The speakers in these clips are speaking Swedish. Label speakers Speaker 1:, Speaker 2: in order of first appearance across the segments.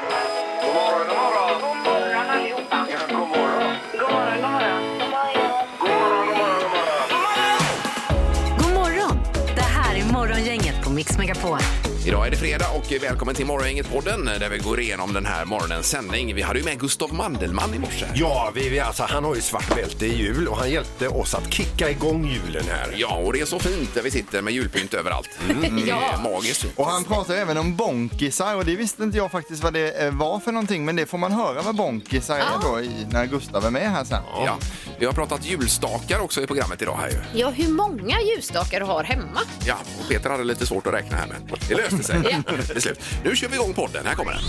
Speaker 1: God morgon, god morgon. God morgon allihopa. Ja, god morgon. God morgon, god morgon. God morgon, god morgon, god morgon.
Speaker 2: God morgon! Det här är Morgongänget på Mix Megapol.
Speaker 3: Idag är det fredag och välkommen till Morgongänget-podden där vi går igenom den här morgonens sändning. Vi hade ju med Gustav Mandelmann i morse.
Speaker 4: Ja, vi, vi, alltså, han har ju svart bälte i jul och han hjälpte oss att kicka igång julen här.
Speaker 3: Ja, och det är så fint där vi sitter med julpynt överallt. Mm, ja. Det är magiskt.
Speaker 5: Och han pratar ju även om bonkisar och det visste inte jag faktiskt vad det eh, var för någonting men det får man höra vad bonkisar är då i, när Gustav är med här sen.
Speaker 3: Ja. Vi har pratat julstakar också i programmet idag här ju.
Speaker 6: Ja, hur många ljusstakar du har hemma?
Speaker 3: Ja, och Peter hade lite svårt att räkna här men det löste sig. Till slut. Nu kör vi igång podden. Här kommer den.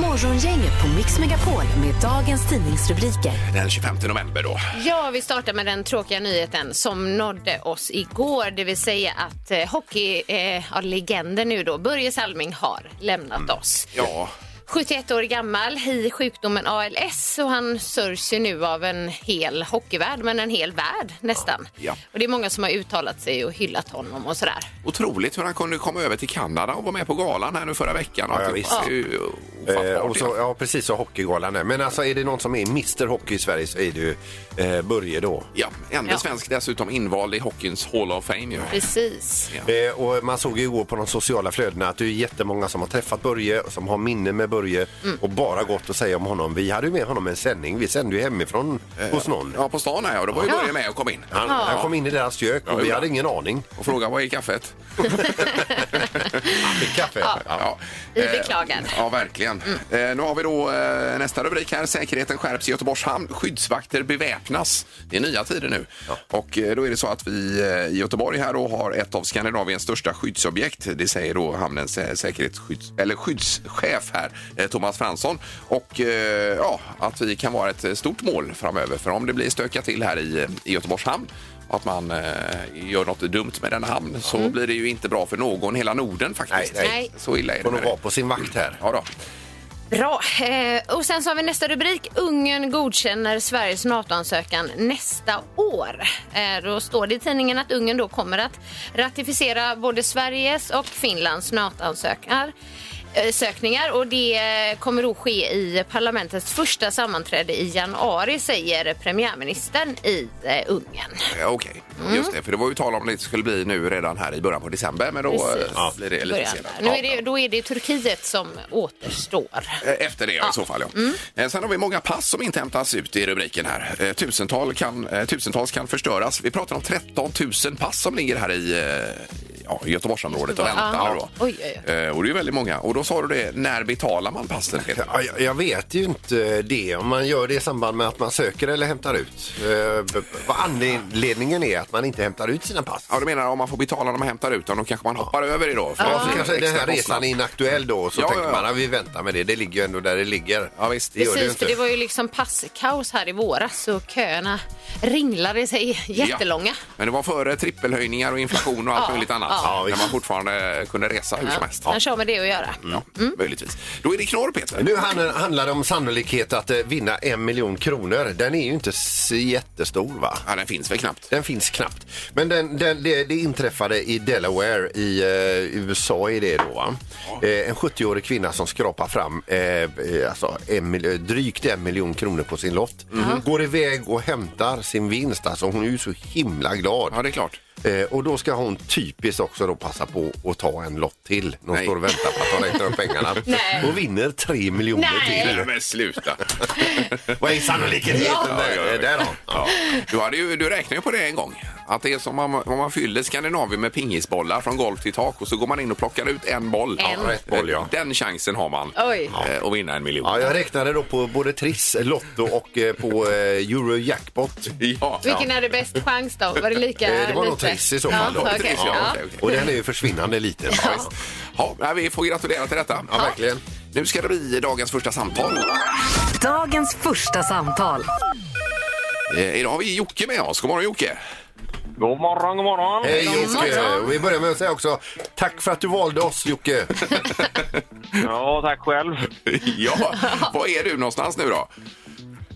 Speaker 2: Morgongänget på Mix Megapol med dagens tidningsrubriker.
Speaker 3: Den 25 november då.
Speaker 6: Ja, vi startar med den tråkiga nyheten som nådde oss igår, det vill säga att eh, hockeylegenden eh, ja, legenden nu då, Börje Salming har lämnat
Speaker 3: Mm.
Speaker 6: oss.
Speaker 3: Ja,
Speaker 6: 71 år gammal i sjukdomen ALS och han sörjs ju nu av en hel hockeyvärld, men en hel värld nästan.
Speaker 3: Ja.
Speaker 6: Och det är många som har uttalat sig och hyllat honom och sådär.
Speaker 3: otroligt hur han kunde komma över till Kanada och vara med på galan här nu förra veckan.
Speaker 4: Ja, ja,
Speaker 3: Alltihop.
Speaker 4: visst.
Speaker 3: Det är ju
Speaker 4: Eh,
Speaker 3: ofattbart.
Speaker 4: och så, ja, precis så hockeygalan är. Men alltså är det någon som är Mr Hockey i Sverige så är det ju eh, Börje då.
Speaker 3: Ja, enda
Speaker 6: Ja.
Speaker 3: svensk dessutom invald i hockeyns Hall of Fame ju.
Speaker 6: Precis.
Speaker 4: Eh, och man såg ju igår på de sociala flödena att det är jättemånga som har träffat Börje, och som har minnen med Börje
Speaker 3: Mm.
Speaker 4: och bara gått och säga om honom. Vi hade ju med honom i en sändning, vi sände ju hemifrån hos någon.
Speaker 3: Eh, Ja, på stan här ja. Då var ju Börje med och kom in.
Speaker 4: Han, han kom in i deras kök
Speaker 3: Ja,
Speaker 4: och vi
Speaker 3: gjorde
Speaker 4: hade
Speaker 3: han.
Speaker 4: ingen aning.
Speaker 3: Och frågade vad är kaffet?
Speaker 4: Han fick kaffe. Ja.
Speaker 3: Ja.
Speaker 6: Vi Mm.
Speaker 3: Eh,
Speaker 6: beklagar.
Speaker 3: Ja, verkligen. Eh, nu har vi då eh, nästa rubrik här. Säkerheten skärps i Göteborgs hamn. Skyddsvakter beväpnas. Det är nya tider nu. Och eh, då är det så att vi eh, i Göteborg här då har ett av Skandinaviens största skyddsobjekt. Det säger då hamnens eh, säkerhetsskydds... eller skyddschef här, eh, Thomas Fransson. Och eh, ja, att vi kan vara ett eh, stort mål framöver. För om det blir stökat till här i, eh, i Göteborgs hamn och att man eh, gör något dumt med denna hamn så blir det ju inte bra för någon, hela Norden faktiskt.
Speaker 4: Nej,
Speaker 6: Mm. nej.
Speaker 3: Så illa är det
Speaker 4: Får
Speaker 3: med
Speaker 4: nog
Speaker 3: det.
Speaker 4: vara på sin vakt här.
Speaker 3: Ja då.
Speaker 6: Bra. Eh, och sen så har vi nästa rubrik. Ungern godkänner Sveriges NATO-ansökan nästa år. Eh, då står det i tidningen att Ungern då kommer att ratificera både Sveriges och Finlands NATO-ansökningar. eh, sökningar och det eh, kommer då ske i parlamentets första sammanträde i januari säger premiärministern i eh, Ungern.
Speaker 3: Ja, Okej,
Speaker 6: Mm.
Speaker 3: just det. För det var ju tal om att det skulle bli nu redan här i början på december, men då
Speaker 6: Precis.
Speaker 3: eh,
Speaker 6: Ja.
Speaker 3: blir det lite
Speaker 6: Början
Speaker 3: senare.
Speaker 6: där. Nu är det, då är det Turkiet som återstår.
Speaker 3: Eh, Efter det i så fall, ja.
Speaker 6: Mm.
Speaker 3: Eh, Sen har vi många pass som inte hämtas ut i rubriken här. Eh, Tusental kan, eh, tusentals kan förstöras. Vi pratar om 13 000 pass som ligger här i eh, ja, i Göteborgsområdet och
Speaker 6: Göteborg,
Speaker 3: väntar.
Speaker 6: ja.
Speaker 3: Då.
Speaker 6: Oj, oj, oj.
Speaker 3: Eh, Och det är ju väldigt många. Och då sa du det, när betalar man passen? Peter?
Speaker 4: Ja, jag, jag vet ju inte det, om man gör det i samband med att man söker eller hämtar ut. Eh, b- b- vad anledningen är att man inte hämtar ut sina pass.
Speaker 3: Ja, du menar om man får betala när man hämtar ut dem, då kanske man hoppar över idag. För
Speaker 4: Ja,
Speaker 3: det
Speaker 4: så
Speaker 3: blir
Speaker 4: kanske den
Speaker 3: extra
Speaker 4: här
Speaker 3: kostnad.
Speaker 4: resan är inaktuell då och så
Speaker 3: Ja,
Speaker 4: tänker
Speaker 3: ja, ja.
Speaker 4: man att vi väntar med det. Det ligger ju ändå där det ligger.
Speaker 3: Ja, visst.
Speaker 4: Det gör det ju
Speaker 6: Precis, för
Speaker 4: inte.
Speaker 6: det var ju liksom passkaos här i våras och köerna ringlade sig jättelånga.
Speaker 3: Ja. Men det var före trippelhöjningar och inflation och allt
Speaker 6: Ja,
Speaker 3: möjligt annat.
Speaker 6: ja.
Speaker 4: Ja,
Speaker 3: när
Speaker 4: visst.
Speaker 3: man fortfarande kunde resa hur som helst. Mm,
Speaker 6: Kanske har med det att göra.
Speaker 3: Ja, Möjligtvis. Då är det knorr, Peter.
Speaker 4: Nu han- handlar det om sannolikhet att eh, vinna en miljon kronor. Den är ju inte s- jättestor va?
Speaker 3: Ja, den finns väl knappt.
Speaker 4: Den finns knappt. Men den, den, det, det inträffade i Delaware i eh, USA är det då. Va? Eh, en 70-årig kvinna som skrapar fram eh, eh, alltså en, mil- eh, drygt en miljon kronor på sin lott.
Speaker 3: Mhm.
Speaker 4: Mm-hmm. Går iväg och hämtar sin vinst. Alltså hon är ju så himla glad.
Speaker 3: Ja, det är klart.
Speaker 4: Eh, och då ska hon typiskt också då passa på att ta en lott till. De
Speaker 3: Nej.
Speaker 4: står och väntar på att de räknar upp pengarna.
Speaker 6: Nej.
Speaker 4: Och vinner tre miljoner
Speaker 6: Nej.
Speaker 4: till.
Speaker 3: men sluta.
Speaker 4: Vad är sannolikheten där?
Speaker 3: Ja, ja, ja.
Speaker 4: där då? Ja.
Speaker 3: Du, hade ju, du räknade ju på det en gång. Att det är som om man, om man fyller Skandinavien med pingisbollar från golv till tak och så går man in och plockar ut en boll.
Speaker 6: En.
Speaker 4: Ja, rätt boll, ja.
Speaker 3: Den chansen har man
Speaker 6: Oj.
Speaker 3: eh, att vinna en miljon.
Speaker 4: Ja, jag räknade då på både Triss, Lotto och eh, på eh, Eurojackpot.
Speaker 3: Ja.
Speaker 6: Vilken hade bäst chans då? Var det lika
Speaker 4: Eh, det var nog
Speaker 6: lite?
Speaker 4: Triss i så fall då.
Speaker 6: Ja, okej.
Speaker 3: Triss, ja,
Speaker 6: ja.
Speaker 3: okej, okej.
Speaker 4: Och den är ju försvinnande liten.
Speaker 3: Ja, visst. Ja, nej, vi får gratulera till detta.
Speaker 4: Ja, verkligen.
Speaker 3: Nu ska det bli dagens första samtal.
Speaker 2: Dagens första samtal.
Speaker 3: Eh, idag har vi Jocke med oss. God morgon Jocke!
Speaker 1: God morgon, god morgon.
Speaker 4: Hej
Speaker 6: God
Speaker 4: Jocke!
Speaker 6: morgon.
Speaker 4: Och vi börjar med att säga också tack för att du valde oss Jocke.
Speaker 1: Ja, tack själv.
Speaker 3: ja, var är du någonstans nu då?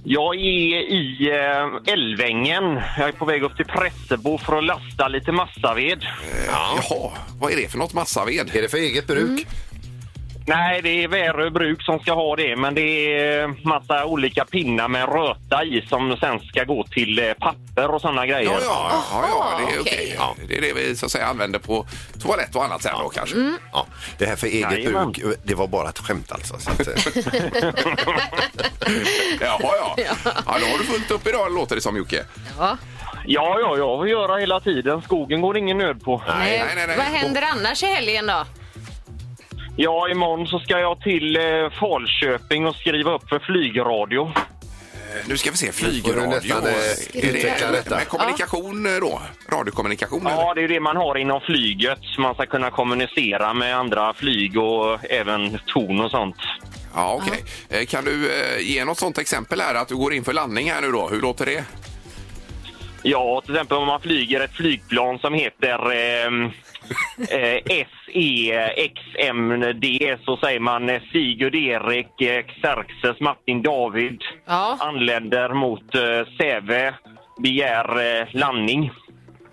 Speaker 1: Jag är i eh, Älvängen. Jag är på väg upp till Pressebo för att lasta lite massaved.
Speaker 3: Ja. Jaha, vad är det för något massaved?
Speaker 6: Mm.
Speaker 4: Är det för eget bruk?
Speaker 7: Nej, det är Värö bruk som ska ha det, men det är massa olika pinnar med röta i som sen ska gå till eh, papper och sådana grejer.
Speaker 3: Ja, ja, ja, ja det är okej.
Speaker 6: Aha, okej.
Speaker 3: Ja, det är det vi så att säga använder på toalett och annat sen då kanske.
Speaker 4: Ja, det här för eget
Speaker 7: Jajamän.
Speaker 4: bruk, det var bara ett skämt alltså. Så att, eh,
Speaker 3: Jaha, ja. ja. då har du fullt upp idag låter det som Jocke.
Speaker 6: Ja.
Speaker 7: Ja, ja, ja, vi gör det hela tiden. Skogen går ingen nöd på.
Speaker 3: Nej,
Speaker 6: Eh,
Speaker 3: nej, nej, nej.
Speaker 6: Vad händer annars i helgen då?
Speaker 7: Ja, imorgon så ska jag till eh, Falköping och skriva upp för flygradio.
Speaker 3: Eh, Nu ska vi se,
Speaker 4: får du
Speaker 3: flygradio.
Speaker 4: nästan, eh,
Speaker 3: Är
Speaker 4: utveckla
Speaker 3: det
Speaker 4: detta.
Speaker 3: med kommunikation eh, då? Radiokommunikation?
Speaker 7: Ja,
Speaker 3: eller?
Speaker 7: det är ju det man har inom flyget. Man ska kunna kommunicera med andra flyg och även ton och sånt.
Speaker 3: ja okej. Eh, Kan du eh, ge något sånt exempel här? Att du går in för landning här nu då. Hur låter det?
Speaker 7: Ja, till exempel om man flyger ett flygplan som heter ehm, eh, SEXMD så säger man eh, Sigurd Erik eh, Xerxes Martin David
Speaker 6: Ja.
Speaker 7: anländer mot eh, Säve, begär eh, landning.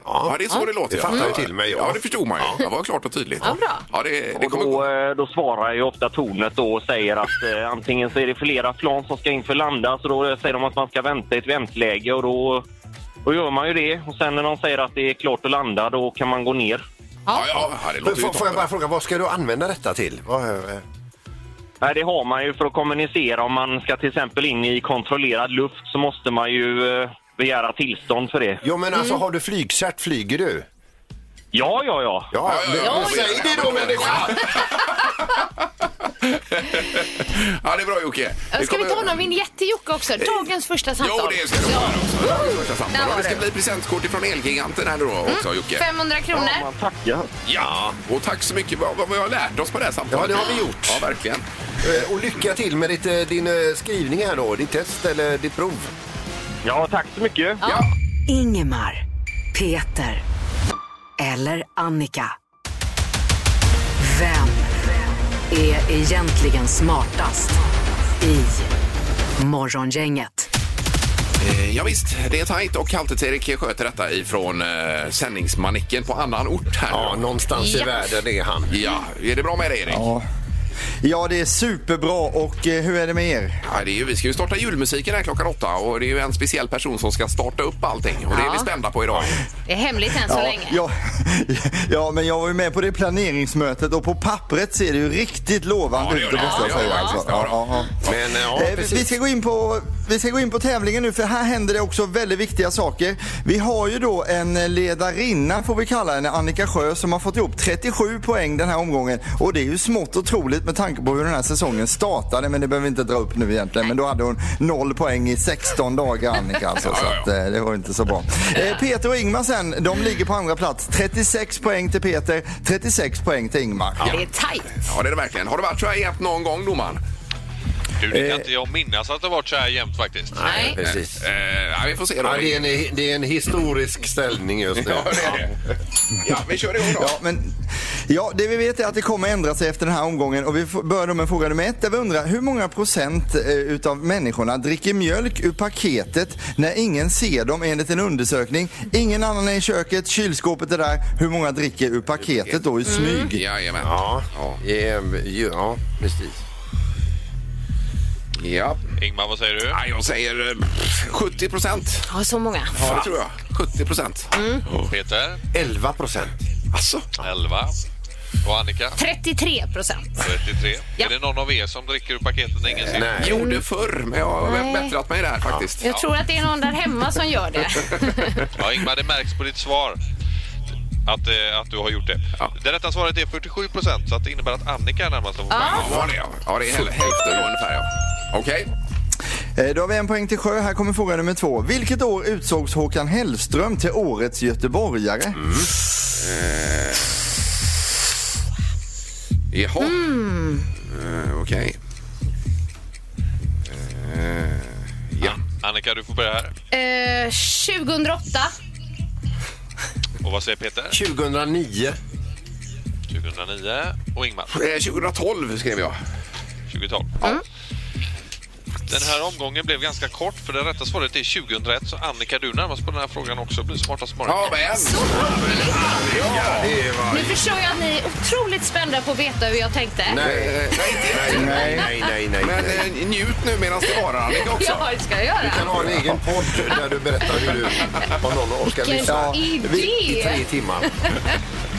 Speaker 3: Ja, det är så det låter.
Speaker 4: Det
Speaker 3: ja.
Speaker 4: fattar jag till mig, ja.
Speaker 3: Ja, det förstod man ju. Det var klart och tydligt.
Speaker 6: Ja, bra.
Speaker 3: Ja, det, det
Speaker 7: Och
Speaker 3: kommer
Speaker 7: då,
Speaker 3: gå.
Speaker 7: eh, då svarar ju ofta tornet då och säger att eh, antingen så är det flera plan som ska in för landa så då säger de att man ska vänta i ett väntläge och då, då gör man ju det. Och sen när de säger att det är klart att landa då kan man gå ner.
Speaker 3: Ja, ja, ja, det låter ju
Speaker 4: får, får jag
Speaker 3: toppen.
Speaker 4: bara fråga, vad ska du använda detta till? Vad, eh,
Speaker 7: Nej, det har man ju för att kommunicera. Om man ska till exempel in i kontrollerad luft så måste man ju eh, begära tillstånd för det.
Speaker 4: Jo men alltså
Speaker 6: Mm.
Speaker 4: har du flygcert flyger du?
Speaker 7: Ja, ja, ja.
Speaker 4: Ja,
Speaker 3: ja,
Speaker 4: men-
Speaker 3: ja,
Speaker 4: men
Speaker 3: ja.
Speaker 4: säg det då människa!
Speaker 3: Ja, det är bra Jocke. Det
Speaker 6: Ska vi
Speaker 3: kommer-
Speaker 6: ta någon vignett till Jocke också? Dagens första samtal.
Speaker 3: Jo, det ska det vara också. Det var det första samtalet.
Speaker 6: Där var
Speaker 3: Och Det ska
Speaker 6: det. Mm.
Speaker 3: bli presentkort ifrån Elgiganten här då också, Jocke.
Speaker 6: 500 kronor.
Speaker 7: Man tackar.
Speaker 3: Ja, och tack så mycket. Vad, vad vi har lärt oss på det här samtalet.
Speaker 4: Ja, det har vi gjort.
Speaker 3: Ja, verkligen.
Speaker 4: Eh, Och lycka till med ditt, eh, din eh, skrivning här då, ditt test eller ditt prov.
Speaker 7: Ja, tack så mycket.
Speaker 2: Ingemar, Peter eller Annika. Vem är egentligen smartast i Morgongänget?
Speaker 3: Eh, Ja, visst, det är tajt och Halvtids-Erik sköter detta ifrån eh, sändningsmanicken på annan ort här.
Speaker 4: Ja, någonstans i
Speaker 6: Ja.
Speaker 4: världen är han.
Speaker 3: Ja, är det bra med dig Erik? Ja.
Speaker 5: Ja. ja, det är superbra och eh, hur är det med er?
Speaker 3: det är ju, vi ska ju starta julmusiken här klockan åtta och det är ju en speciell person som ska starta upp allting och det är
Speaker 6: Ja.
Speaker 3: vi spända på idag.
Speaker 6: Det är hemligt än så
Speaker 5: Ja,
Speaker 6: länge.
Speaker 5: ja, ja, men jag var ju med på det planeringsmötet och på pappret ser det ju riktigt lovande
Speaker 3: gör
Speaker 5: ut, det
Speaker 3: det.
Speaker 5: måste jag
Speaker 3: Ja,
Speaker 5: säga.
Speaker 3: ja,
Speaker 5: alltså.
Speaker 3: ja, ja.
Speaker 5: Ja, ja.
Speaker 4: Men eh, ja,
Speaker 5: Eh, vi- vi,
Speaker 4: precis.
Speaker 5: ska gå in på, vi ska gå in på tävlingen nu för här händer det också väldigt viktiga saker. Vi har ju då en ledarinna får vi kalla henne, Annika Sjö, som har fått ihop 37 poäng den här omgången. Och det är ju smått otroligt med tanke på hur den här säsongen startade, men det behöver vi inte dra upp nu egentligen. Men då hade hon 0 poäng i 16 dagar Annika alltså, så att, eh, det var inte så bra. Eh, Peter och Ingmar sen, de ligger på andra plats. 36 poäng till Peter, 36 poäng till Ingmar.
Speaker 6: Det är tajt.
Speaker 3: Ja, det är det verkligen. Har det varit så här jämnt någon gång domaren?
Speaker 8: Du, det kan inte jag minnas att det har varit så här jämnt faktiskt.
Speaker 6: Nej.
Speaker 4: precis.
Speaker 3: Eh, ja, vi får se då.
Speaker 4: Ja, det, är en, det är en historisk ställning just nu.
Speaker 3: Ja, det är det. Ja, vi kör igång då.
Speaker 5: Ja, men, ja, det vi vet är att det kommer ändra sig efter den här omgången och vi f- börjar då med fråga nummer ett där vi undrar hur många procent eh, utav människorna dricker mjölk ur paketet när ingen ser dem enligt en undersökning. Ingen annan är i köket, kylskåpet är där. Hur många dricker ur paketet då i smyg?
Speaker 3: Jajamän.
Speaker 4: Ja,
Speaker 3: Ja.
Speaker 4: Ehm, ju- ja precis.
Speaker 3: Ja.
Speaker 8: Ingmar, vad säger du?
Speaker 3: Ja, jag säger eh, 70 procent.
Speaker 6: Ja, så många.
Speaker 3: Ja, det tror jag. 70 procent.
Speaker 4: Mm.
Speaker 8: Peter?
Speaker 4: 11 procent.
Speaker 3: Alltså,
Speaker 8: 11. Och Annika?
Speaker 6: 33 procent.
Speaker 8: 33.
Speaker 6: Ja.
Speaker 8: Är det någon av er som dricker ur paketet när ingen ser?
Speaker 4: Nej.
Speaker 3: gjorde förr, men jag har
Speaker 6: Nej.
Speaker 3: bättrat mig där faktiskt.
Speaker 6: Jag tror att det är någon där hemma som gör det.
Speaker 8: Ja, Ingmar, det märks på ditt svar att, eh, att du har gjort det.
Speaker 3: Ja.
Speaker 8: Det rätta svaret är 47 procent, så att det innebär att Annika är närmast.
Speaker 6: Ja.
Speaker 3: Ja, var det ja. Ja, det är häl- hälften då ungefär ja. Okej.
Speaker 5: Eh, Då har vi en poäng till Sjö. Här kommer fråga nummer två. Vilket år utsågs Håkan Hellström till årets göteborgare?
Speaker 3: Jaha. Eh, Okej. Eh, Ja.
Speaker 8: Annika, du får börja här.
Speaker 6: Eh, 2008.
Speaker 8: Och vad säger Peter?
Speaker 4: 2009.
Speaker 8: 2009. Och Ingmar?
Speaker 3: Eh, 2012 skrev jag.
Speaker 8: 2012. Den här omgången blev ganska kort för det rätta svaret är 2001 så Annika du är närmast på den här frågan också blir smartast morgon.
Speaker 3: Ja, men! Ja, det var...
Speaker 6: Nu förstår jag att ni är otroligt spända på att veta hur jag tänkte.
Speaker 4: Nej, nej, nej, nej, nej, nej.
Speaker 3: Men eh, njut nu medan det varar Annika också.
Speaker 6: Ja, det ska jag göra.
Speaker 4: Du kan ha en egen podd där du berättar hur du, om någon orkar
Speaker 6: Vilken
Speaker 4: lyssna i
Speaker 6: idé!
Speaker 4: tre timmar.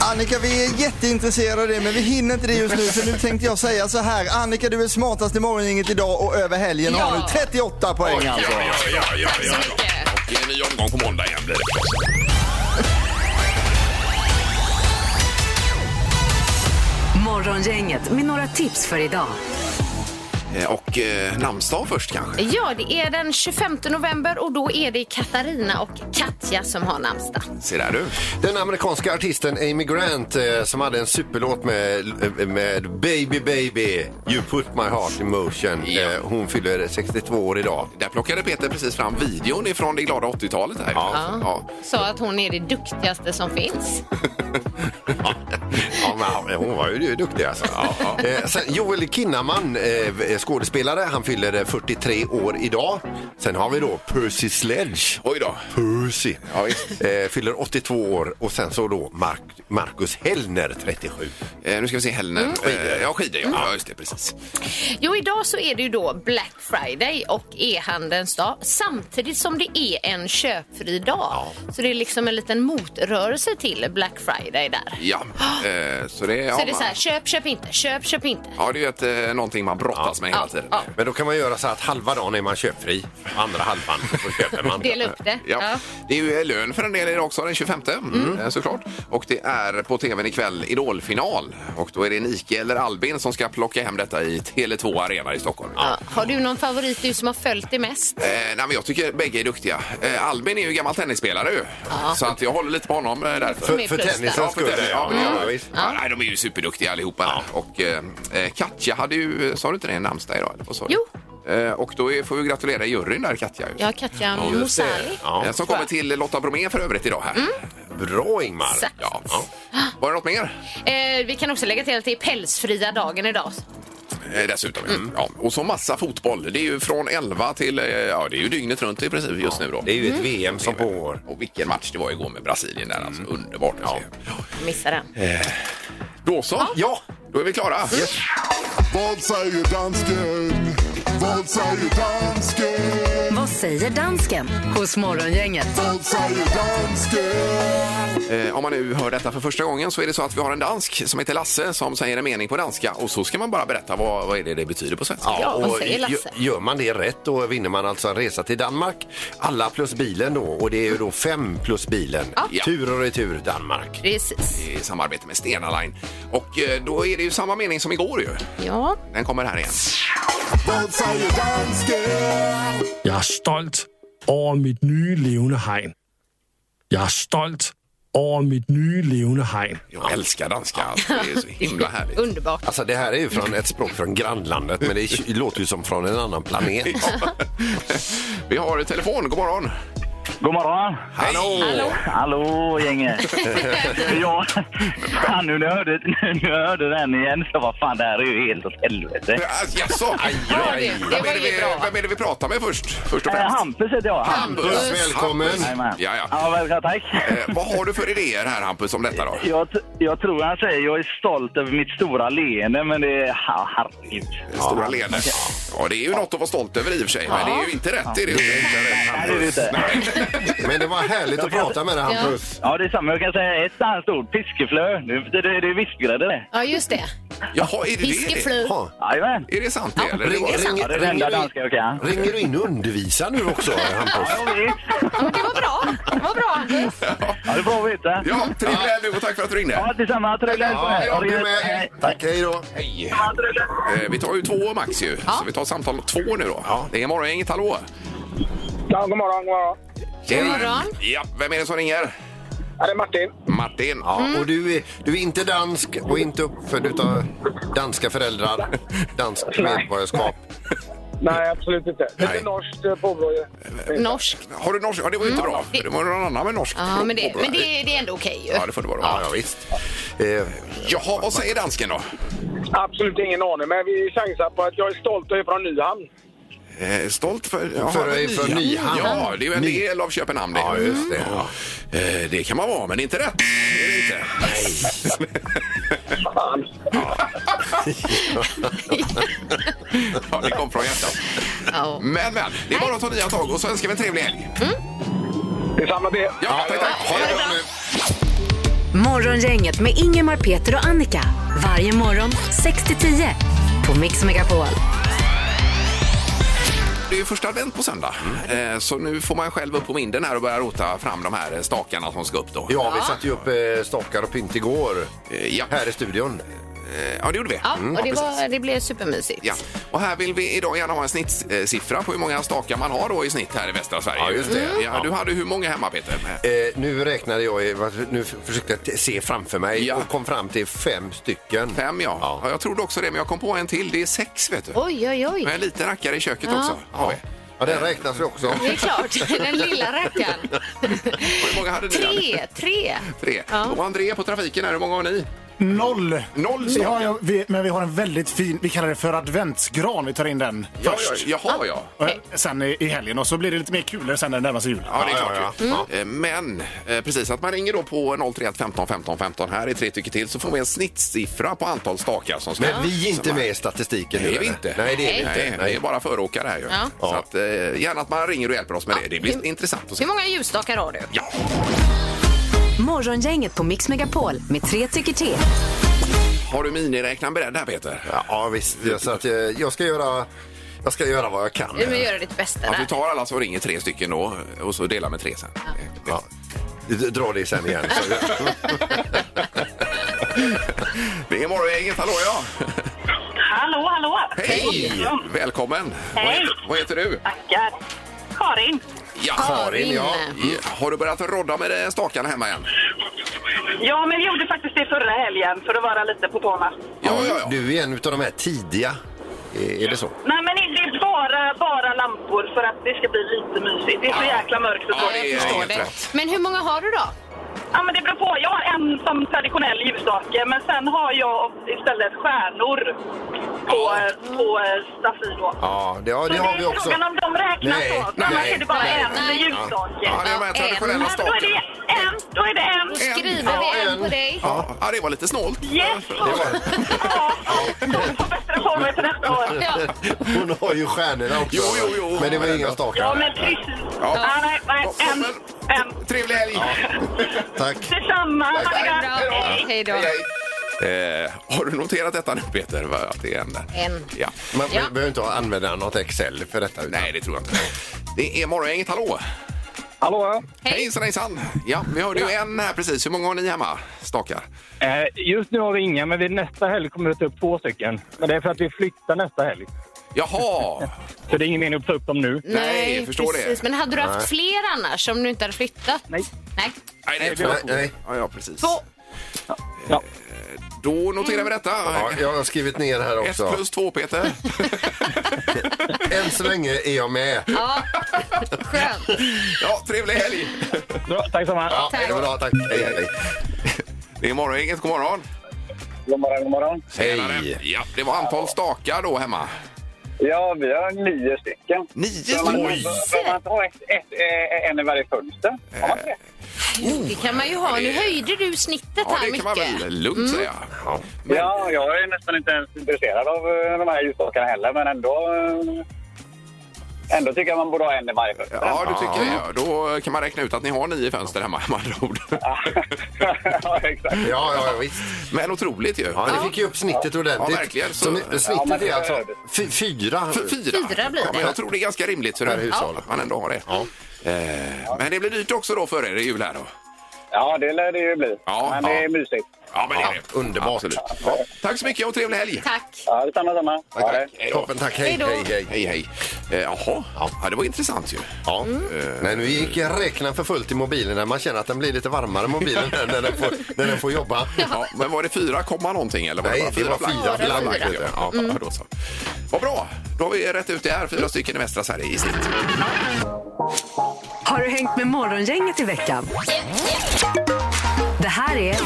Speaker 5: Annika, vi är jätteintresserade av det, men vi hinner inte det just nu. Så nu tänkte jag säga så här. Annika, du är smartast i morgongänget idag och över helgen och har nu
Speaker 6: Ja.
Speaker 5: 38 poäng alltså.
Speaker 3: Ja, ja, ja,
Speaker 6: Tack så mycket.
Speaker 3: Det är en ny omgång på måndag igen blir det förstås.
Speaker 2: Morgongänget med några tips för idag.
Speaker 3: Eh, Och eh, namnsdag först kanske?
Speaker 6: Ja, det är den 25 november och då är det Katarina och Katja som har namnsdag.
Speaker 3: Se där du.
Speaker 4: Den amerikanska artisten Amy Grant eh, som hade en superlåt med, eh, med Baby Baby, You Put My Heart In Motion.
Speaker 3: Ja.
Speaker 4: Eh, hon fyller 62 år idag.
Speaker 3: Där plockade Peter precis fram videon ifrån det glada 80-talet här.
Speaker 4: Ja.
Speaker 3: ja.
Speaker 6: Sa att hon är det duktigaste som finns.
Speaker 4: Ja, men hon var ju duktig alltså. Eh, sen Joel Kinnaman, eh, skådespelare, han fyller eh, 43 år idag. Sen har vi då Percy Sledge.
Speaker 3: Oj då.
Speaker 4: Percy.
Speaker 3: Ja, visst.
Speaker 4: Eh, fyller 82 år och sen så då Mark, Marcus Hellner 37.
Speaker 3: Eh, nu ska vi se Hellner. Eh, ja, skidor ja. ja. just det, precis.
Speaker 6: Jo, idag så är det ju då Black Friday och e-handelns dag samtidigt som det är en köpfri dag. Så det är liksom en liten motrörelse till Black Friday där.
Speaker 3: Ja. Eh, så det, ja,
Speaker 6: Så är det så här,
Speaker 3: man-
Speaker 6: köp, köp inte, köp, köp inte.
Speaker 3: Ja, det är ju ett, eh, någonting man brottas med hela
Speaker 6: Ja.
Speaker 3: tiden.
Speaker 6: Ja.
Speaker 4: Men då kan man göra så att halva dagen är man köpfri, andra halvan så köper man.
Speaker 6: Dela upp det. Mm.
Speaker 3: Ja. Det är ju eh, lön för en del idag också, den 25 eh, såklart. Och det är på tvn ikväll Idolfinal. Och då är det Nike eller Albin som ska plocka hem detta i Tele2 Arena i Stockholm.
Speaker 6: Ja. Har du någon favorit du som har följt det mest?
Speaker 3: Eh, nej, men jag tycker bägge är duktiga. Eh, Albin är ju gammal tennisspelare ju. Så att jag håller lite på honom eh, därför.
Speaker 6: Som är
Speaker 4: För, för
Speaker 6: plus där. Ja,
Speaker 4: tennisens
Speaker 3: för
Speaker 4: skull.
Speaker 3: tennis, ja, men
Speaker 4: ja,
Speaker 3: ja,
Speaker 4: visst.
Speaker 3: Ja, nej, de är ju superduktiga allihopa. Och eh, eh, Katja hade ju, sa du inte det, namnsdag idag? Eller vad sa du? Eh, och då är, får vi gratulera juryn där, Katja. ju.
Speaker 6: Ja, Katja
Speaker 4: Ja, just det.
Speaker 6: Mosali.
Speaker 4: Ja.
Speaker 3: Eh, Som kommer till Lotta Bromé för övrigt idag här.
Speaker 4: Bra Ingmar!
Speaker 6: Exakt.
Speaker 3: Ja. Var det något mer?
Speaker 6: Eh, vi kan också lägga till att det är pälsfria dagen idag.
Speaker 3: Eh, dessutom.
Speaker 4: Mm.
Speaker 3: Ja. Och så massa fotboll. Det är ju från 11 till, eh, ja det är ju dygnet runt i princip just nu då. Mm.
Speaker 4: Det är ju ett VM som pågår. Mm.
Speaker 3: Och vilken match det var igår med Brasilien där alltså. Underbart att se.
Speaker 6: Missa den.
Speaker 3: Eh. Då så.
Speaker 4: Ja! Mm.
Speaker 3: Då är vi klara.
Speaker 9: Vad säger dansken? Vad säger dansken?
Speaker 2: Vad säger dansken hos Morgongänget?
Speaker 9: Vad säger dansken?
Speaker 3: Eh, om man nu hör detta för första gången så är det så att vi har en dansk som heter Lasse som säger en mening på danska och så ska man bara berätta vad, vad är det det betyder på svenska.
Speaker 6: Ja, vad
Speaker 4: och
Speaker 6: säger Lasse?
Speaker 4: gö- Gör man det rätt då vinner man alltså en resa till Danmark. Alla plus bilen då och det är ju då fem plus bilen.
Speaker 3: Ja.
Speaker 4: Tur och retur Danmark.
Speaker 6: Precis.
Speaker 3: I samarbete med Stena Line. Och eh, då är det ju samma mening som igår ju.
Speaker 6: Ja.
Speaker 3: Den kommer här igen.
Speaker 9: Vad säger dansken?
Speaker 10: Jeg er stolt over mit nye levende hegn. Jeg er stolt over mit nye levende hegn.
Speaker 3: Jag älskar danska. Alltså. Det är så himla härligt.
Speaker 6: Underbart.
Speaker 4: Alltså det här är ju från ett språk från grannlandet men det låter ju som från en annan planet.
Speaker 3: Vi har telefon. God morgon.
Speaker 11: God morgon!
Speaker 3: Hallå!
Speaker 11: Hallå gänget! ja, fan nu när jag hörde, nu när jag hörde den igen så vad fan det här är ju helt åt helvete.
Speaker 3: Äh, Jaså?
Speaker 6: Ja, det- det
Speaker 3: Vem
Speaker 6: var
Speaker 3: är det
Speaker 6: ju
Speaker 3: vi-
Speaker 6: bra.
Speaker 3: Vem är det vi pratar med först? Först och
Speaker 11: Eh,
Speaker 3: främst.
Speaker 11: Hampus heter jag.
Speaker 3: Hampus.
Speaker 4: Välkommen.
Speaker 11: Jajamän.
Speaker 3: Ja, ja.
Speaker 11: ja välkommen, tack.
Speaker 3: Eh, vad har du för idéer här Hampus om detta då?
Speaker 11: Jag, t- jag tror han säger jag är stolt över mitt stora leende men det är... Ha, herregud.
Speaker 3: Stora leenden. Ja, det är ju något att vara stolt över i och för sig, men det är ju inte rätt. Det är det ju inte.
Speaker 11: Nej, det är det inte.
Speaker 4: Men det var härligt att prata med dig Hampus.
Speaker 11: Ja, det är samma. Jag kan säga ett annat ord. Fiskeflö. Nu- Det, det, det är viskgrädde det.
Speaker 6: Ja, just det.
Speaker 3: Jaha, är det det?
Speaker 6: Fiskeflur.
Speaker 4: Ja.
Speaker 11: Jajamän.
Speaker 3: Är det sant det? eller?
Speaker 4: Ring,
Speaker 3: Det var-
Speaker 4: ring,
Speaker 11: Ja, det är det
Speaker 4: ringer,
Speaker 11: enda
Speaker 4: du,
Speaker 11: danska jag kan.
Speaker 4: ringer du in och undervisar nu också Hampus?
Speaker 11: Ja, jag vet.
Speaker 6: Ja, men det var bra. Det var bra, Anders.
Speaker 11: Ja, det får vi veta.
Speaker 3: Ja, trevlig helg och tack för att du ringde.
Speaker 11: Ja, detsamma. Trevlig helg på
Speaker 4: Ja,
Speaker 11: er.
Speaker 4: ja,
Speaker 11: Ha det
Speaker 4: du
Speaker 11: gött.
Speaker 4: med.
Speaker 11: Hej.
Speaker 4: Tack, hej då.
Speaker 3: Hej.
Speaker 11: Ja, trevlig helg.
Speaker 3: Eh, Vi tar ju två max ju, så vi tar samtal två nu då. Det är morgongänget, hallå!
Speaker 12: Ja, god morgon, god morgon.
Speaker 3: God
Speaker 6: morgon.
Speaker 3: Ja, vem är det som ringer?
Speaker 12: Ja, det är Martin.
Speaker 3: Martin.
Speaker 4: Ja, och du är, du är inte dansk och inte uppfödd utav danska föräldrar, danskt medborgarskap.
Speaker 12: Nej, absolut inte. Det
Speaker 4: Nej.
Speaker 12: är norskt eh, påbrå ju.
Speaker 6: Norskt.
Speaker 3: Har du norsk? Ja, det var ju inte bra. Det var någon annan med norsk.
Speaker 6: Ja, men det,
Speaker 3: påbrå.
Speaker 6: men det, det är ändå okej ju.
Speaker 3: Ja, det får det vara.
Speaker 4: Ja,
Speaker 3: Ja.
Speaker 4: ja visst. Eh,
Speaker 3: Jaha, vad säger dansken då?
Speaker 12: Absolut ingen aning, men vi chansar på att jag är stolt och är från Nyhamn.
Speaker 3: Eh, Stolt för, ja,
Speaker 4: För- för Nyhamn.
Speaker 3: Ja, det är ju en del av Köpenhamn. Det. Ja, just det. Eh, det kan man vara, men inte rätt. Det är det inte. Nej. ja, det kom från hjärtat. Men, men. Det är bara att ta nya tag och så önskar vi en trevlig helg.
Speaker 12: Detsamma det.
Speaker 3: Mm. Ja, tack, tack. Ha det bra nu.
Speaker 2: Morgongänget med Ingemar, Peter och Annika. Varje morgon 6 till 10 på Mix Megapol.
Speaker 3: Det är ju första advent på söndag, Eh, så nu får man själv upp på vinden här och börja rota fram de här eh, stakarna som ska upp då. Eh,
Speaker 4: Ja, vi satte ju upp eh, stakar och pynt igår eh, här i studion.
Speaker 3: Ja, det gjorde vi.
Speaker 6: Ja,
Speaker 3: Mm,
Speaker 6: och det,
Speaker 3: ja,
Speaker 6: var, det blev supermysigt.
Speaker 3: Ja. Och här vill vi idag gärna ha en snittsiffra på hur många stakar man har då i snitt här i västra Sverige. Ja,
Speaker 4: just det.
Speaker 3: Ja, du hade hur många hemma Peter?
Speaker 4: Eh, nu räknade jag, i- nu försökte jag t- se framför mig och kom fram till fem stycken.
Speaker 3: Fem ja. ja. Jag trodde också det, men jag kom på en till. Det är sex vet du.
Speaker 6: Oj, oj, oj.
Speaker 3: Och en liten rackare i köket
Speaker 6: Ja.
Speaker 3: också. Har vi.
Speaker 4: Ja, den räknas ju också.
Speaker 6: Det är klart, den lilla rackaren.
Speaker 3: Hur många hade ni?
Speaker 6: Tre, tre.
Speaker 3: Tre. Och André på trafiken här, hur många har ni?
Speaker 13: Noll.
Speaker 3: Noll
Speaker 13: vi har, ju- vi, Men vi har en väldigt fin, vi kallar det för adventsgran. Vi tar in den
Speaker 3: Ja,
Speaker 13: först.
Speaker 3: ja, jaha, ja.
Speaker 13: Och Sen i, i helgen och så blir det lite mer kulor sen när det närmar sig jul.
Speaker 3: Ja, det är klart. ju. Eh, Men eh, precis, att man ringer då på 031 15 15 15 här i tre tycker till så får vi en snittsiffra på antal stakar som ska
Speaker 4: Men vi är inte
Speaker 3: som
Speaker 4: med i statistiken
Speaker 3: Det
Speaker 4: nu,
Speaker 3: är vi
Speaker 4: eller?
Speaker 3: inte.
Speaker 4: Nej, det är vi inte.
Speaker 3: Nej,
Speaker 4: Nej.
Speaker 3: Det är bara föråkare här ju.
Speaker 6: Ja.
Speaker 3: Så att, eh, gärna att man ringer och hjälper oss med det. Det blir intressant att se.
Speaker 6: Hur många ljusstakar har du?
Speaker 3: Ja.
Speaker 2: Morgongänget på Mix Megapol med tre tycker till.
Speaker 3: Har du miniräknaren beredd här Peter?
Speaker 4: Ja, visst. Jag, så att, eh, jag, ska göra, jag ska göra vad jag kan.
Speaker 6: Du får göra ditt bästa
Speaker 3: Att vi
Speaker 6: där.
Speaker 3: tar alla som ringer tre stycken då och så delar med tre sen.
Speaker 4: Ja. Dra det sen igen.
Speaker 3: Det är Morgongänget, hallå ja!
Speaker 14: Hallå, hallå!
Speaker 3: Hej! Välkommen!
Speaker 14: Hej.
Speaker 3: Vad heter, vad heter du?
Speaker 14: Tackar! Karin.
Speaker 3: Ja,
Speaker 14: Karin, ja.
Speaker 3: Ja, Har du börjat rodda med eh, stakarna hemma igen?
Speaker 14: Ja, men vi gjorde faktiskt det förra helgen för att vara lite på tårna.
Speaker 4: Du är en av de här tidiga. Är är det så?
Speaker 14: Nej, men det är bara, bara lampor för att det ska bli lite mysigt. Det är så
Speaker 3: Ah.
Speaker 14: jäkla mörkt och så.
Speaker 6: Ja, jag förstår det. Men hur många har du då?
Speaker 14: Ja, men det beror på. Jag har en som traditionell ljusstake, men sen har jag istället stjärnor på, på eh, staty då.
Speaker 4: Ja, det, ja,
Speaker 14: Så
Speaker 4: det har vi
Speaker 14: är
Speaker 4: också.
Speaker 14: Frågan om de räknas
Speaker 4: Nej,
Speaker 14: så. För Annars
Speaker 4: nej,
Speaker 14: är det bara
Speaker 4: nej.
Speaker 14: en
Speaker 4: Nej.
Speaker 14: ljusstake.
Speaker 4: Ja, det är de här traditionella
Speaker 14: Men Då är det en. Då är det en.
Speaker 6: Då skriver vi en på dig.
Speaker 3: Ja, ja, det var lite snålt.
Speaker 14: Yes!
Speaker 6: Ja.
Speaker 4: Hon har ju stjärnorna också. Jo, jo, jo. Men det var inga stakar.
Speaker 14: Ja, men precis.
Speaker 4: Ja.
Speaker 14: Ja. nej, nej, en, en.
Speaker 3: Trevlig helg!
Speaker 4: Tack.
Speaker 14: Detsamma. Ha det gott.
Speaker 6: Hej då.
Speaker 3: Eh, har du noterat detta nu Peter? Va, Att det är en...
Speaker 6: En.
Speaker 3: Ja.
Speaker 4: Man
Speaker 6: Ja.
Speaker 4: behöver inte använda något Excel för detta.
Speaker 3: Nej, det tror jag inte. Det är Morgongänget, hallå!
Speaker 12: Hallå ja!
Speaker 3: Hejsan hejsan! Ja, vi hörde ju en här precis. Hur många har ni hemma? Stakar?
Speaker 15: Eh, Just nu har vi inga, men vid nästa helg kommer vi ta upp två stycken. Men det är för att vi flyttar nästa helg.
Speaker 3: Jaha!
Speaker 15: Så det är ingen mening att ta upp dem nu.
Speaker 6: precis. Men hade du haft fler annars om du inte hade flyttat?
Speaker 15: Nej.
Speaker 6: Nej.
Speaker 3: Nej, det är
Speaker 15: vi har
Speaker 3: två. Ja, ja, precis.
Speaker 6: Två.
Speaker 3: Eh, Då noterar vi detta.
Speaker 4: Ja, jag har skrivit ner här också.
Speaker 3: Ett plus två, Peter.
Speaker 4: Än så länge är jag med.
Speaker 6: Ja, skönt.
Speaker 3: Ja, trevlig helg!
Speaker 15: Bra, tack så mycket.
Speaker 4: Ja, tack. Det, var bra, tack. Hej, hej.
Speaker 3: det är Morgongänget, god morgon!
Speaker 12: God morgon, god morgon.
Speaker 3: Hej! Ja, det var antal stakar då hemma.
Speaker 12: Ja, vi har nio stycken.
Speaker 3: Nio
Speaker 12: Behöver man-
Speaker 3: stycken?
Speaker 12: Behöver man inte ha ett, ett, eh, en i varje fönster? Har man inte det?
Speaker 6: Jo, det kan man ju ha. Nu höjde du snittet
Speaker 12: Ja,
Speaker 6: här
Speaker 12: det kan man
Speaker 6: mycket.
Speaker 12: väl
Speaker 3: lugnt säga. Mm. Ja.
Speaker 12: Ja, jag är nästan inte ens intresserad av eh, de här ljusstakarna heller, men ändå... eh, Ändå tycker jag man borde ha en i varje fönster.
Speaker 3: Ja, du tycker det. ja. Då kan man räkna ut att ni har nio fönster hemma med andra ord.
Speaker 12: ja, exakt.
Speaker 4: Ja, ja, visst.
Speaker 3: Men otroligt ju.
Speaker 4: Ja, ni fick ju upp snittet ordentligt.
Speaker 3: Ja, verkligen.
Speaker 4: Så, ni-
Speaker 3: Ja, men
Speaker 4: snittet
Speaker 3: det
Speaker 4: är alltså
Speaker 3: behövdes.
Speaker 4: fy- fyra.
Speaker 3: F- fyra.
Speaker 6: Fyra blir
Speaker 3: Ja, men
Speaker 6: det.
Speaker 3: jag tror det är ganska rimligt för det här
Speaker 4: Ja.
Speaker 3: hushållet. Man ändå har det. Eh, Men det blir dyrt också då för er i jul här då.
Speaker 12: Ja, det lär det ju bli.
Speaker 3: Ja,
Speaker 12: men det
Speaker 3: ja.
Speaker 12: är mysigt.
Speaker 3: Ja, men det är det. Underbart. Absolut. Ja. Tack så mycket och trevlig helg.
Speaker 6: Tack.
Speaker 12: Ja, detsamma, detsamma.
Speaker 3: Tack, tack. Hej då.
Speaker 4: Toppen, tack. Hej, Hej då. hej, hej.
Speaker 3: hej, hej. Eh, jaha, ja. det var intressant ju.
Speaker 4: Ja. Nej, nu gick räknaren för fullt i mobilen. När man känner att den blir lite varmare, mobilen, när, när, den, får, när den får jobba.
Speaker 3: Ja, men var det fyra komma någonting eller var
Speaker 4: Nej,
Speaker 3: det
Speaker 4: det
Speaker 3: bara
Speaker 4: var
Speaker 3: fyra?
Speaker 4: fyra blankt.
Speaker 3: blankt,
Speaker 4: Fyra.
Speaker 3: vet jag. Ja,
Speaker 4: Mm.
Speaker 3: då så. Vad bra, då har vi rätt ut det här. Fyra stycken i västra Sverige i snitt.
Speaker 2: Har du hängt med Morgongänget i veckan? Det här är...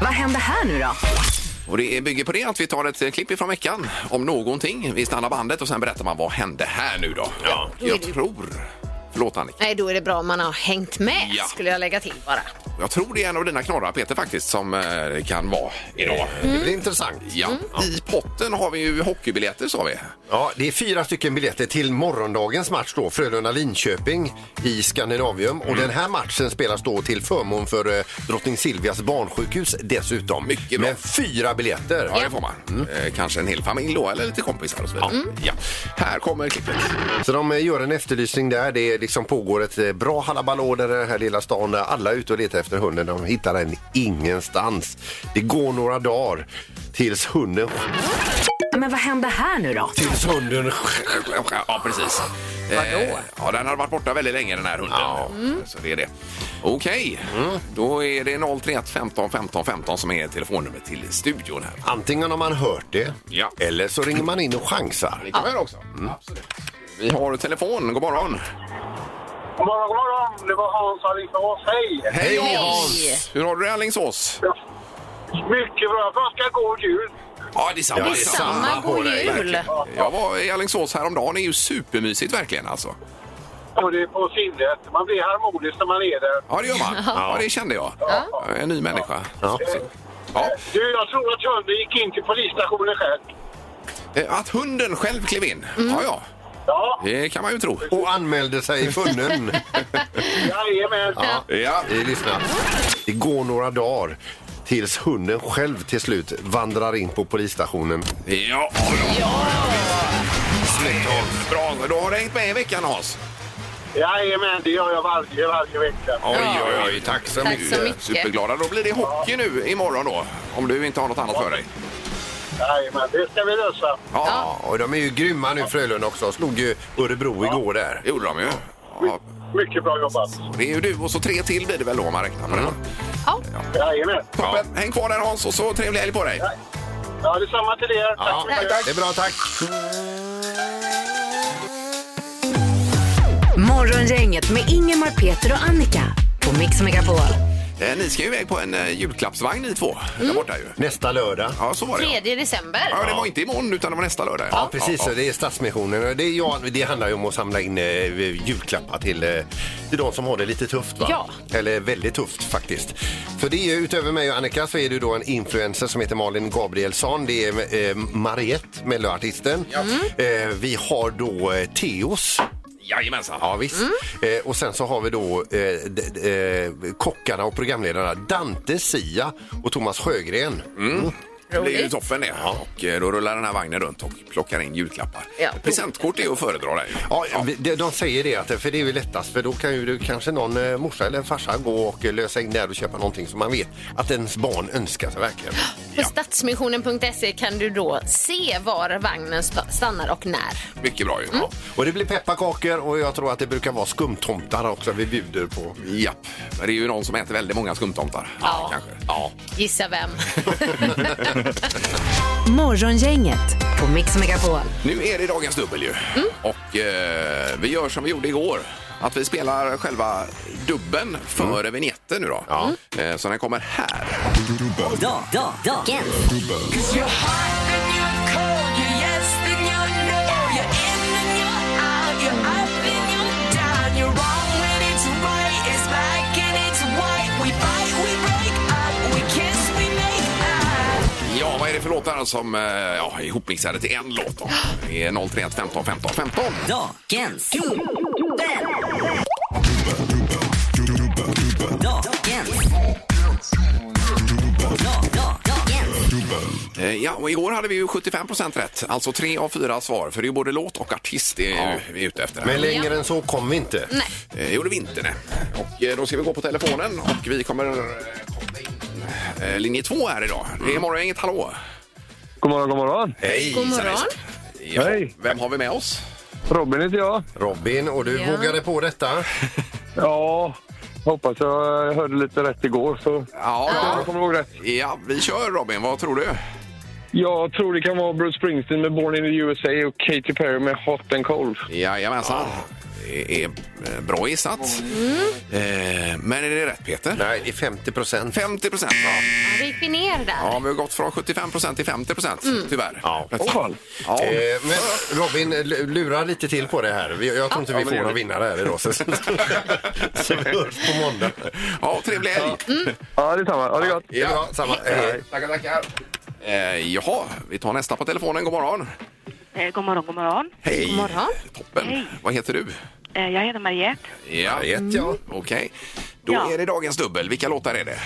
Speaker 2: Vad händer här nu då?
Speaker 3: Och det bygger på det att vi tar ett eh, klipp ifrån veckan om någonting. Vi stannar bandet och sen berättar man vad hände här nu då? Ja. Jag tror... Förlåt Annika.
Speaker 6: Nej, då är det bra om man har hängt med,
Speaker 3: Ja.
Speaker 6: skulle jag lägga till bara.
Speaker 3: Jag tror det är en av dina knorrar Peter faktiskt som eh, det kan vara idag.
Speaker 4: Det blir intressant.
Speaker 3: Ja. I potten har vi ju hockeybiljetter sa vi.
Speaker 4: Ja, det är fyra stycken biljetter till morgondagens match då, Frölunda-Linköping i Skandinavium.
Speaker 3: Mm.
Speaker 4: Och den här matchen spelas då till förmån för eh, Drottning Silvias barnsjukhus dessutom. Mycket bra. Med fyra biljetter.
Speaker 3: Ja, det får man. Eh, kanske en hel familj då, eller lite kompisar och så vidare. Ja. Här kommer klippet.
Speaker 4: Så de eh, gör en efterlysning där. Det är liksom pågår ett eh, bra halabalå där i den här lilla stan. Där alla är ute och letar efter hunden. De hittar den ingenstans. Det går några dagar tills hunden...
Speaker 2: Men vad hände här nu då?
Speaker 4: Tills hunden...
Speaker 3: Ja, precis. Eh, ja, den har varit borta väldigt länge den här hunden. Mm. Så det är det. Okej, då är det 031 15 15 15 som är telefonnumret till studion här.
Speaker 4: Antingen har man hört det
Speaker 3: Ja.
Speaker 4: eller så ringer man in och chansar.
Speaker 3: Det kan man göra också. Absolut. Mm. Vi har telefon. God morgon.
Speaker 16: God morgon, god morgon. Det var Hans Alingsås. Hej!
Speaker 3: Hej Hans! Hur har du det i Alingsås?
Speaker 16: Mycket bra. Jag önskar god jul.
Speaker 3: Ja, det är samma.
Speaker 16: Ja, detsamma. God jul.
Speaker 3: Jag var i Alingsås häromdagen. Det är ju supermysigt verkligen alltså.
Speaker 16: Och det är på sinnet. Man blir harmonisk när man är där.
Speaker 3: Ja, det gör man. Ja, det kände jag. Jag är En ny människa. Ja.
Speaker 16: Du, jag tror att hunden gick in till polisstationen själv.
Speaker 3: Eh, Att hunden själv klev in? Ja, ja.
Speaker 16: Ja.
Speaker 3: Det kan man ju tro.
Speaker 4: Och anmälde sig funnen.
Speaker 16: Jajamän.
Speaker 4: Ja. Vi lyssnar. Det går några dagar tills hunden själv till slut vandrar in på polisstationen.
Speaker 3: Ja! Bra, då har du hängt med i veckan Hans.
Speaker 16: Jajamän, det gör jag varje, varje vecka.
Speaker 3: Oj, oj, oj. Tack så
Speaker 16: Tack så
Speaker 3: mycket.
Speaker 16: mycket.
Speaker 3: Superglada. Då blir det hockey nu imorgon då. Om du inte har något annat för dig.
Speaker 16: Jajamän, det ska vi lösa.
Speaker 4: Ja, och de är ju grymma nu Frölunda också. Slog ju Örebro igår där.
Speaker 3: Det gjorde de ju.
Speaker 16: Mycket bra jobbat.
Speaker 3: Det är ju du och så tre till blir det väl då om man räknar på det.
Speaker 6: Ja.
Speaker 16: Jajamän.
Speaker 3: Toppen. Häng kvar där Hans och så trevlig helg på dig.
Speaker 16: Ja, detsamma till er. Tack så mycket.
Speaker 4: Det är bra, tack.
Speaker 2: Morgongänget med Ingemar, Peter och Annika på Mix Megapol.
Speaker 3: Eh, Ni ska ju iväg på en eh, julklappsvagn ni två. Där borta ju.
Speaker 4: Nästa lördag.
Speaker 3: Ja, så var det. ja.
Speaker 6: 3 december.
Speaker 3: Ja, det var inte imorgon utan det var nästa lördag.
Speaker 4: Ja, precis. Så det är Stadsmissionen. Och Det, är, ja, det handlar ju om att samla in eh, julklappar till, eh, till de som har det lite tufft. Va?
Speaker 6: Ja.
Speaker 4: Eller väldigt tufft faktiskt. För det är ju, utöver mig och Annika så är det ju då en influencer som heter Malin Gabrielsson. Det är eh, Mariette, melloartisten. Eh, vi har då eh, Teos.
Speaker 3: Jajamensan.
Speaker 4: Ja, visst. Eh, och sen så har vi då eh, d- d- eh, kockarna och programledarna Dante Sia och Thomas Sjögren.
Speaker 3: Mm. Det blir ju toppen det. Och eh, då rullar den här vagnen runt och plockar in julklappar. Presentkort är ju att föredra där. ju.
Speaker 4: Ja, vi- de- de säger det, att, för det är ju lättast. För då kan ju du, kanske någon eh, morsa eller farsa gå och eh, lösa in där och köpa någonting som man vet att ens barn önskar sig verkligen.
Speaker 6: På stadsmissionen.se kan du då se var vagnen sta- stannar och när.
Speaker 3: Mycket bra ju. Ja.
Speaker 4: Och det blir pepparkakor och jag tror att det brukar vara skumtomtar också vi bjuder på.
Speaker 3: Japp, men det är ju någon som äter väldigt många skumtomtar.
Speaker 6: Ja.
Speaker 3: Kanske. Ja.
Speaker 6: Gissa vem?
Speaker 2: Morgongänget på Mix Megapol.
Speaker 3: Nu är det dagens dubbel ju. Och eh, vi gör som vi gjorde igår. Att vi spelar själva dubben före vignetten nu då. Eh, så den kommer här. Ja, vad är det för låtar som eh, ja, är ihopmixade till en låt då? Det är 031 15 15 15.
Speaker 1: Dagens
Speaker 3: Eh, Ja, och igår hade vi ju 75 rätt, alltså tre av fyra svar. För det är ju både låt och artist det är vi är ute efter. här.
Speaker 4: Men längre än så kom vi inte.
Speaker 6: Nej.
Speaker 3: Eh, gjorde vi inte, nej. Och eh, då ska vi gå på telefonen och vi kommer eh, koppla in eh, linje två här idag. Det är morgongänget, hallå!
Speaker 15: God morgon, god morgon.
Speaker 3: Hej!
Speaker 6: God morgon.
Speaker 3: Ja, Vem har vi med oss?
Speaker 15: Robin heter jag.
Speaker 4: Robin, och du
Speaker 6: Ja.
Speaker 4: vågade på detta.
Speaker 15: Ja, hoppas jag eh, hörde lite rätt igår. Så
Speaker 3: Ja,
Speaker 15: jag kommer ihåg rätt.
Speaker 3: ja, vi kör Robin. Vad tror du?
Speaker 15: Jag tror det kan vara Bruce Springsteen med Born in the USA och Katy Perry med Hot and Cold.
Speaker 3: Jajamensan. är- är eh, bra gissat. Eh, Men är det rätt Peter?
Speaker 4: Nej, det är 50 procent.
Speaker 3: 50 procent, ja.
Speaker 6: Ja, det gick vi ner där.
Speaker 3: ja. Vi har gått från 75 procent till 50 procent,
Speaker 6: Mm.
Speaker 3: tyvärr.
Speaker 4: Ja.
Speaker 3: Plötsligt.
Speaker 4: Ja. Eh, men Robin, l- lura lite till på det här. Vi- Jag tror inte
Speaker 3: Ja, men det
Speaker 4: vi får
Speaker 3: gör
Speaker 4: någon
Speaker 3: vi.
Speaker 4: vinnare här idag. Så, så vi hörs på måndag.
Speaker 3: Ja, trevlig helg!
Speaker 15: Ja, detsamma. Ha det gott.
Speaker 4: Ja, bra, samma. Hej.
Speaker 3: Tackar, tackar. Eh, jaha, vi tar nästa på telefonen. God morgon.
Speaker 17: Eh, god morgon, god morgon.
Speaker 3: Hej. God morgon. Toppen.
Speaker 17: Hej.
Speaker 3: Vad heter du?
Speaker 17: Eh, jag heter Mariette.
Speaker 3: Ja. Mariette, ja. Okej. Då
Speaker 17: Ja.
Speaker 3: är det dagens dubbel. Vilka låtar är det?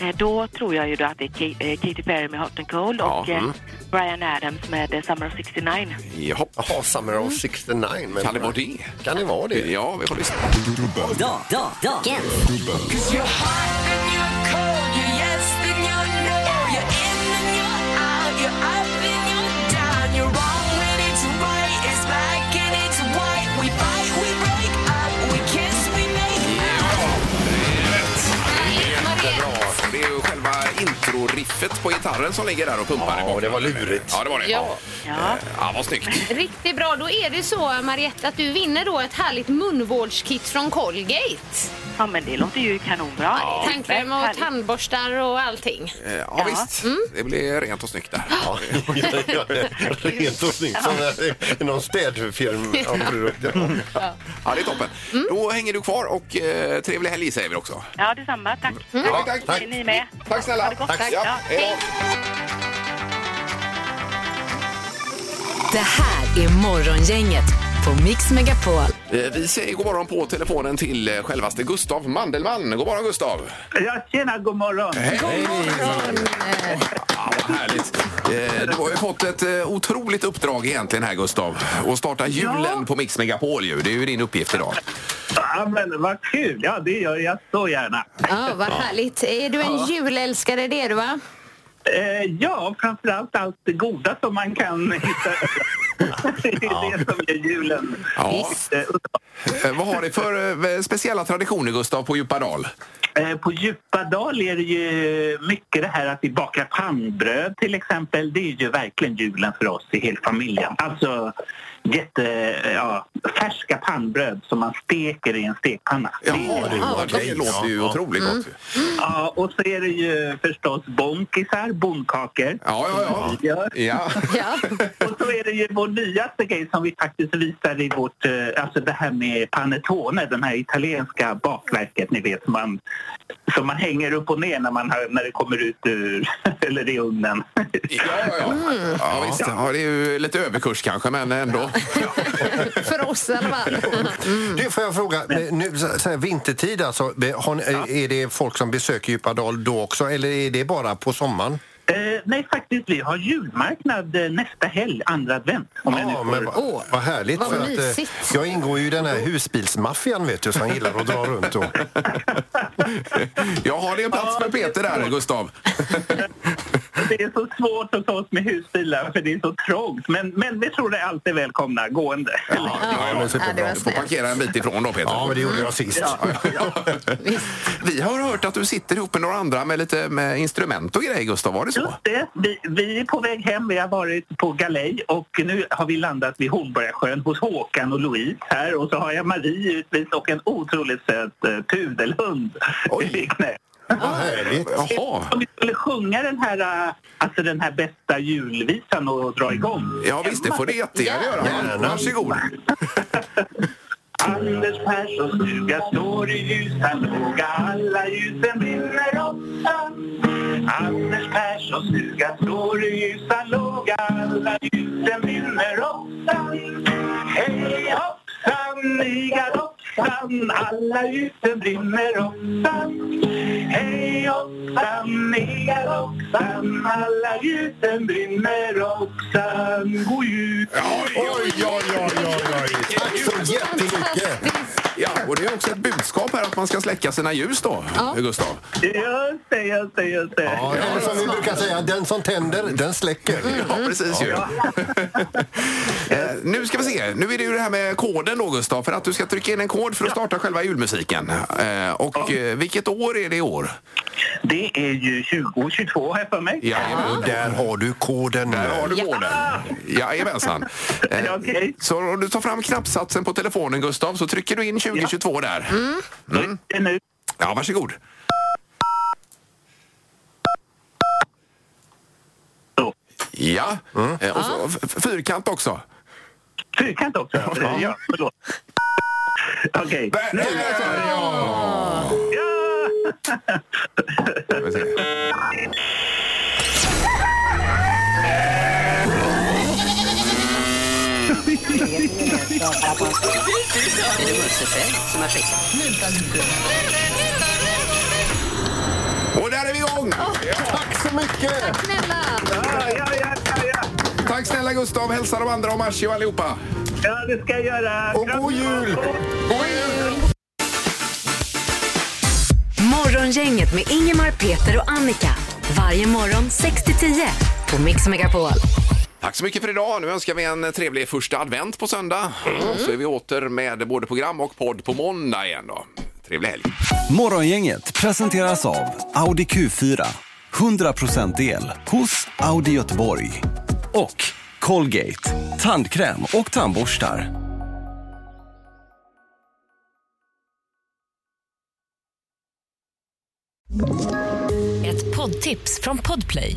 Speaker 17: Eh, då tror jag ju då att det är Ki- eh, Katy Perry med Hot and Cold och
Speaker 3: Ja, mm.
Speaker 17: eh, Brian Adams med eh, Summer of 69.
Speaker 3: Jaha.
Speaker 4: Jaha, Summer
Speaker 3: Mm.
Speaker 4: of 69. Men
Speaker 3: Kan det vara det?
Speaker 4: Kan det vara det?
Speaker 3: Ja, vi får lyssna.
Speaker 4: Da, da, da.
Speaker 3: Jättebra. Det är ju själva introriffet på gitarren som ligger där och pumpar. Ja, det
Speaker 4: var lurigt.
Speaker 3: Ja, det var det.
Speaker 6: Ja.
Speaker 3: Ja, ja vad snyggt.
Speaker 6: Riktigt bra. Då är det så, Mariette, att du vinner då ett härligt munvårdskit från Colgate.
Speaker 17: Ja, men det låter ju kanonbra.
Speaker 6: Ja. Tandkräm och tandborstar och allting.
Speaker 3: Eh, Ja, visst. Det blir rent och snyggt där.
Speaker 4: Ja. Rent och snyggt. Som eh, någon städfirm av produkter.
Speaker 3: Ja. det är toppen. Då hänger du kvar och eh, trevlig helg säger vi också.
Speaker 17: Ja, detsamma. Tack.
Speaker 18: Mm.
Speaker 3: Ja, tack, tack.
Speaker 17: Är ni med?
Speaker 3: Tack snälla.
Speaker 17: Ha det gott.
Speaker 3: Tack.
Speaker 17: Tack.
Speaker 3: Ja,
Speaker 17: Ja.
Speaker 3: hej då.
Speaker 2: Det här är Morgongänget på Mix Megapol.
Speaker 3: Eh, Vi säger god morgon på telefonen till eh, självaste Gustav Mandelmann. God morgon Gustav!
Speaker 18: Mm. Ja, tjena, god morgon.
Speaker 3: God morgon! Ja, vad härligt. Eh, Du har ju fått ett eh, otroligt uppdrag egentligen här Gustav. Att starta julen på Mix Megapol ju. Det är ju din uppgift idag.
Speaker 18: Ja, men vad kul. Ja, det gör jag så gärna.
Speaker 6: Ja, vad härligt. Är du en
Speaker 18: Ja.
Speaker 6: julälskare det du va?
Speaker 18: Eh, ja, framförallt allt det goda som man kan hitta. det är det som är julen.
Speaker 3: Ja. Eh, Vad har ni för eh, speciella traditioner Gustav på Djupadal?
Speaker 18: Eh, På Djupadal är det ju mycket det här att vi bakar pannbröd till exempel. Det är ju verkligen julen för oss i hela familjen. Alltså jätte, ja, färska pannbröd som man steker i en stekpanna.
Speaker 3: Jaha, det, ja, det låter ju otroligt gott. ju.
Speaker 18: Ja, och så är det ju förstås bonkisar, bondkakor.
Speaker 3: Ja, ja,
Speaker 18: ja.
Speaker 3: ja.
Speaker 18: och så är det ju vår nyaste grej som vi faktiskt visar i vårt, eh, alltså det här med panettone, den här italienska bakverket ni vet som man, som man hänger upp och ner när, man har, när det kommer ut ur, eller i ugnen. Mm.
Speaker 3: Ja, visst. Ja, det är ju lite överkurs kanske, men ändå.
Speaker 6: För oss i alla fall.
Speaker 4: Mm. Du, får jag fråga, eh, nu, så så här, vintertid alltså, eh, har, ni- eh, är det folk som besöker Djupadal då också eller är det bara på sommaren?
Speaker 18: Eh, nej, faktiskt, vi har julmarknad eh, nästa helg, andra advent. Om jag nu
Speaker 4: Ja,
Speaker 18: får-
Speaker 4: men vad, vad härligt.
Speaker 18: vad
Speaker 4: för att, eh,
Speaker 18: mysigt.
Speaker 4: jag ingår ju i den här husbilsmaffian vet du, som gillar att dra runt. Och...
Speaker 3: Jag har det är en plats för Peter där, Gustav.
Speaker 18: Det är så svårt att ta oss med husbilar för det är så trångt. Men, men vi tror det är alltid välkomna gående.
Speaker 3: Ja, men superbra. Du får parkera en bit ifrån då, Peter. Ja,
Speaker 4: men det gjorde jag sist.
Speaker 3: Vi har hört att du sitter ihop med några andra med lite med instrument och grejer, Gustav. Var det så?
Speaker 18: Just det. Vi, vi är på väg hem. Vi har varit på galej och nu har vi landat vid Hornborgasjön hos Håkan och Louise här. Och så har jag Marie givetvis och en otroligt söt eh, pudelhund i knät.
Speaker 3: Jaha.
Speaker 18: Om vi skulle sjunga den här, eh, alltså den här bästa julvisan och dra igång.
Speaker 3: Ja, visst, det får du jättegärna göra. Varsågod.
Speaker 18: Anders Perssons stuga står i ljusan låga, alla ljusen brinner ofta. Anders Perssons stuga står i ljusan låga, alla ljusen brinner ofta. Hej hoppsan i galoppsan, alla ljusen brinner ofta. Hej hoppsan i galoppsan, alla ljusen brinner ofta. God jul!
Speaker 4: Oj, oj, oj, oj, oj. Tack så jättemycket.
Speaker 3: Ja, och det är också ett budskap här att man ska släcka sina ljus då, Gustav.
Speaker 18: Just det, just det, just det.
Speaker 4: Ja, eller som vi brukar säga,
Speaker 3: Mm.
Speaker 4: den som tänder, den släcker.
Speaker 3: Ja, precis ju. Eh, nu ska vi se. det. Nu är det ju det här med koden då Gustav, för att du ska trycka in en kod för att starta själva julmusiken. Eh, Och eh, vilket år är det i år?
Speaker 18: Det är ju 2022 här för mig.
Speaker 3: Ja, och där har du koden. Där Eh, har du koden. Jajamensan. Eh, Så om du tar fram knappsatsen på telefonen Gustav så trycker du in 2022 där. Mm. Ja, varsågod. Ja, Eh, och så f- f- fyrkant också.
Speaker 18: Fyrkant också? Eh, Ja, förlåt. Okej.
Speaker 3: Nu är Ja! Ska vi se. Och där är vi igång!
Speaker 4: Tack så mycket!
Speaker 6: Tack snälla!
Speaker 3: Tack snälla Gustav, hälsa de andra och Marci och allihopa.
Speaker 18: Ja, det ska jag göra.
Speaker 4: Och god jul!
Speaker 3: God jul!
Speaker 2: Morgongänget med Ingemar, Peter och Annika. Varje morgon 6 till 10 på Mix Megapol.
Speaker 3: Tack så mycket för idag. Nu önskar vi en trevlig första advent på söndag. Så är vi åter med både program och podd på måndag igen då. Trevlig helg!
Speaker 19: Morgongänget presenteras av Audi Q4. 100% el hos Audi Göteborg. Och Colgate. Tandkräm och tandborstar.
Speaker 20: Ett poddtips från Podplay.